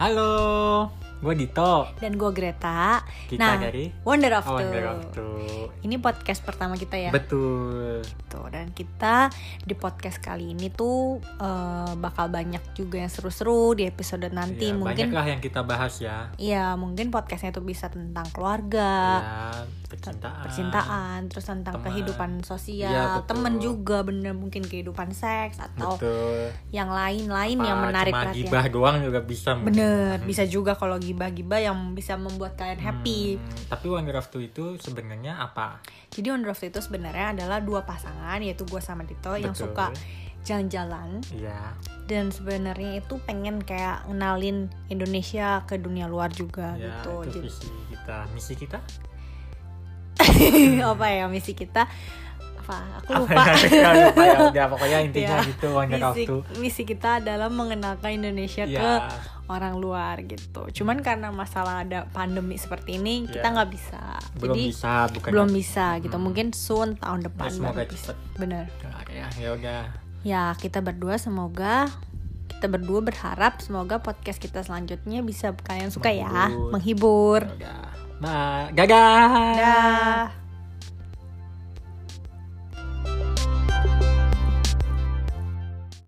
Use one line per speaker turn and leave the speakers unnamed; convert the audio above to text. Halo, gue Dito.
Dan gue Greta.
Kita
nah,
dari
Wonder of Two.
Wonder of Two.
Ini podcast pertama kita ya.
Betul.
Tuh, dan kita di podcast kali ini tuh eh, bakal banyak juga yang seru-seru di episode
Ya,
nanti. mungkin
banyaklah yang kita bahas ya.
ya mungkin podcastnya tuh bisa tentang keluarga,
ya, percintaan.
percintaan, terus tentang
teman.
kehidupan sosial,
Iya, betul.
temen juga bener mungkin kehidupan seks atau
Betul.
yang lain-lain
Apa,
yang
Hmm.
menarik
cuma
perhatian.
gibah doang juga bisa. men-
Bener, bisa juga kalau gibah-gibah yang bisa membuat kalian happy.
Hmm, tapi Wonder of Two itu sebenarnya apa?
Jadi on draft itu sebenarnya adalah dua pasangan yaitu gue sama Dito Oh, yang
Betul.
suka jalan-jalan
Iya.
dan sebenarnya itu pengen kayak ngenalin Indonesia ke dunia luar juga
ya, itu
gitu. Jadi
visi kita, misi kita.
apa ya misi kita? Apa? Aku
Apa
lupa.
ya? Ya, lupa ya, udah pokoknya intinya
Iya.
gitu Wonder of
misi,
Two.
misi kita adalah mengenalkan
Iya.
Indonesia Ya ke orang luar gitu. Cuman karena masalah ada pandemi seperti ini kita
Iya.
nggak bisa.
belum
Jadi
bisa, bukan
belum bisa gitu.
Hmm. Ya,
Mungkin soon tahun depan.
semoga
baru
cepet.
bisa. Bener.
Ya, ya udah.
Ya, kita berdua semoga kita berdua berharap semoga podcast kita selanjutnya bisa kalian suka ya,
Menghibur.
menghibur.
Ya udah. Nah, dadah.
Dah.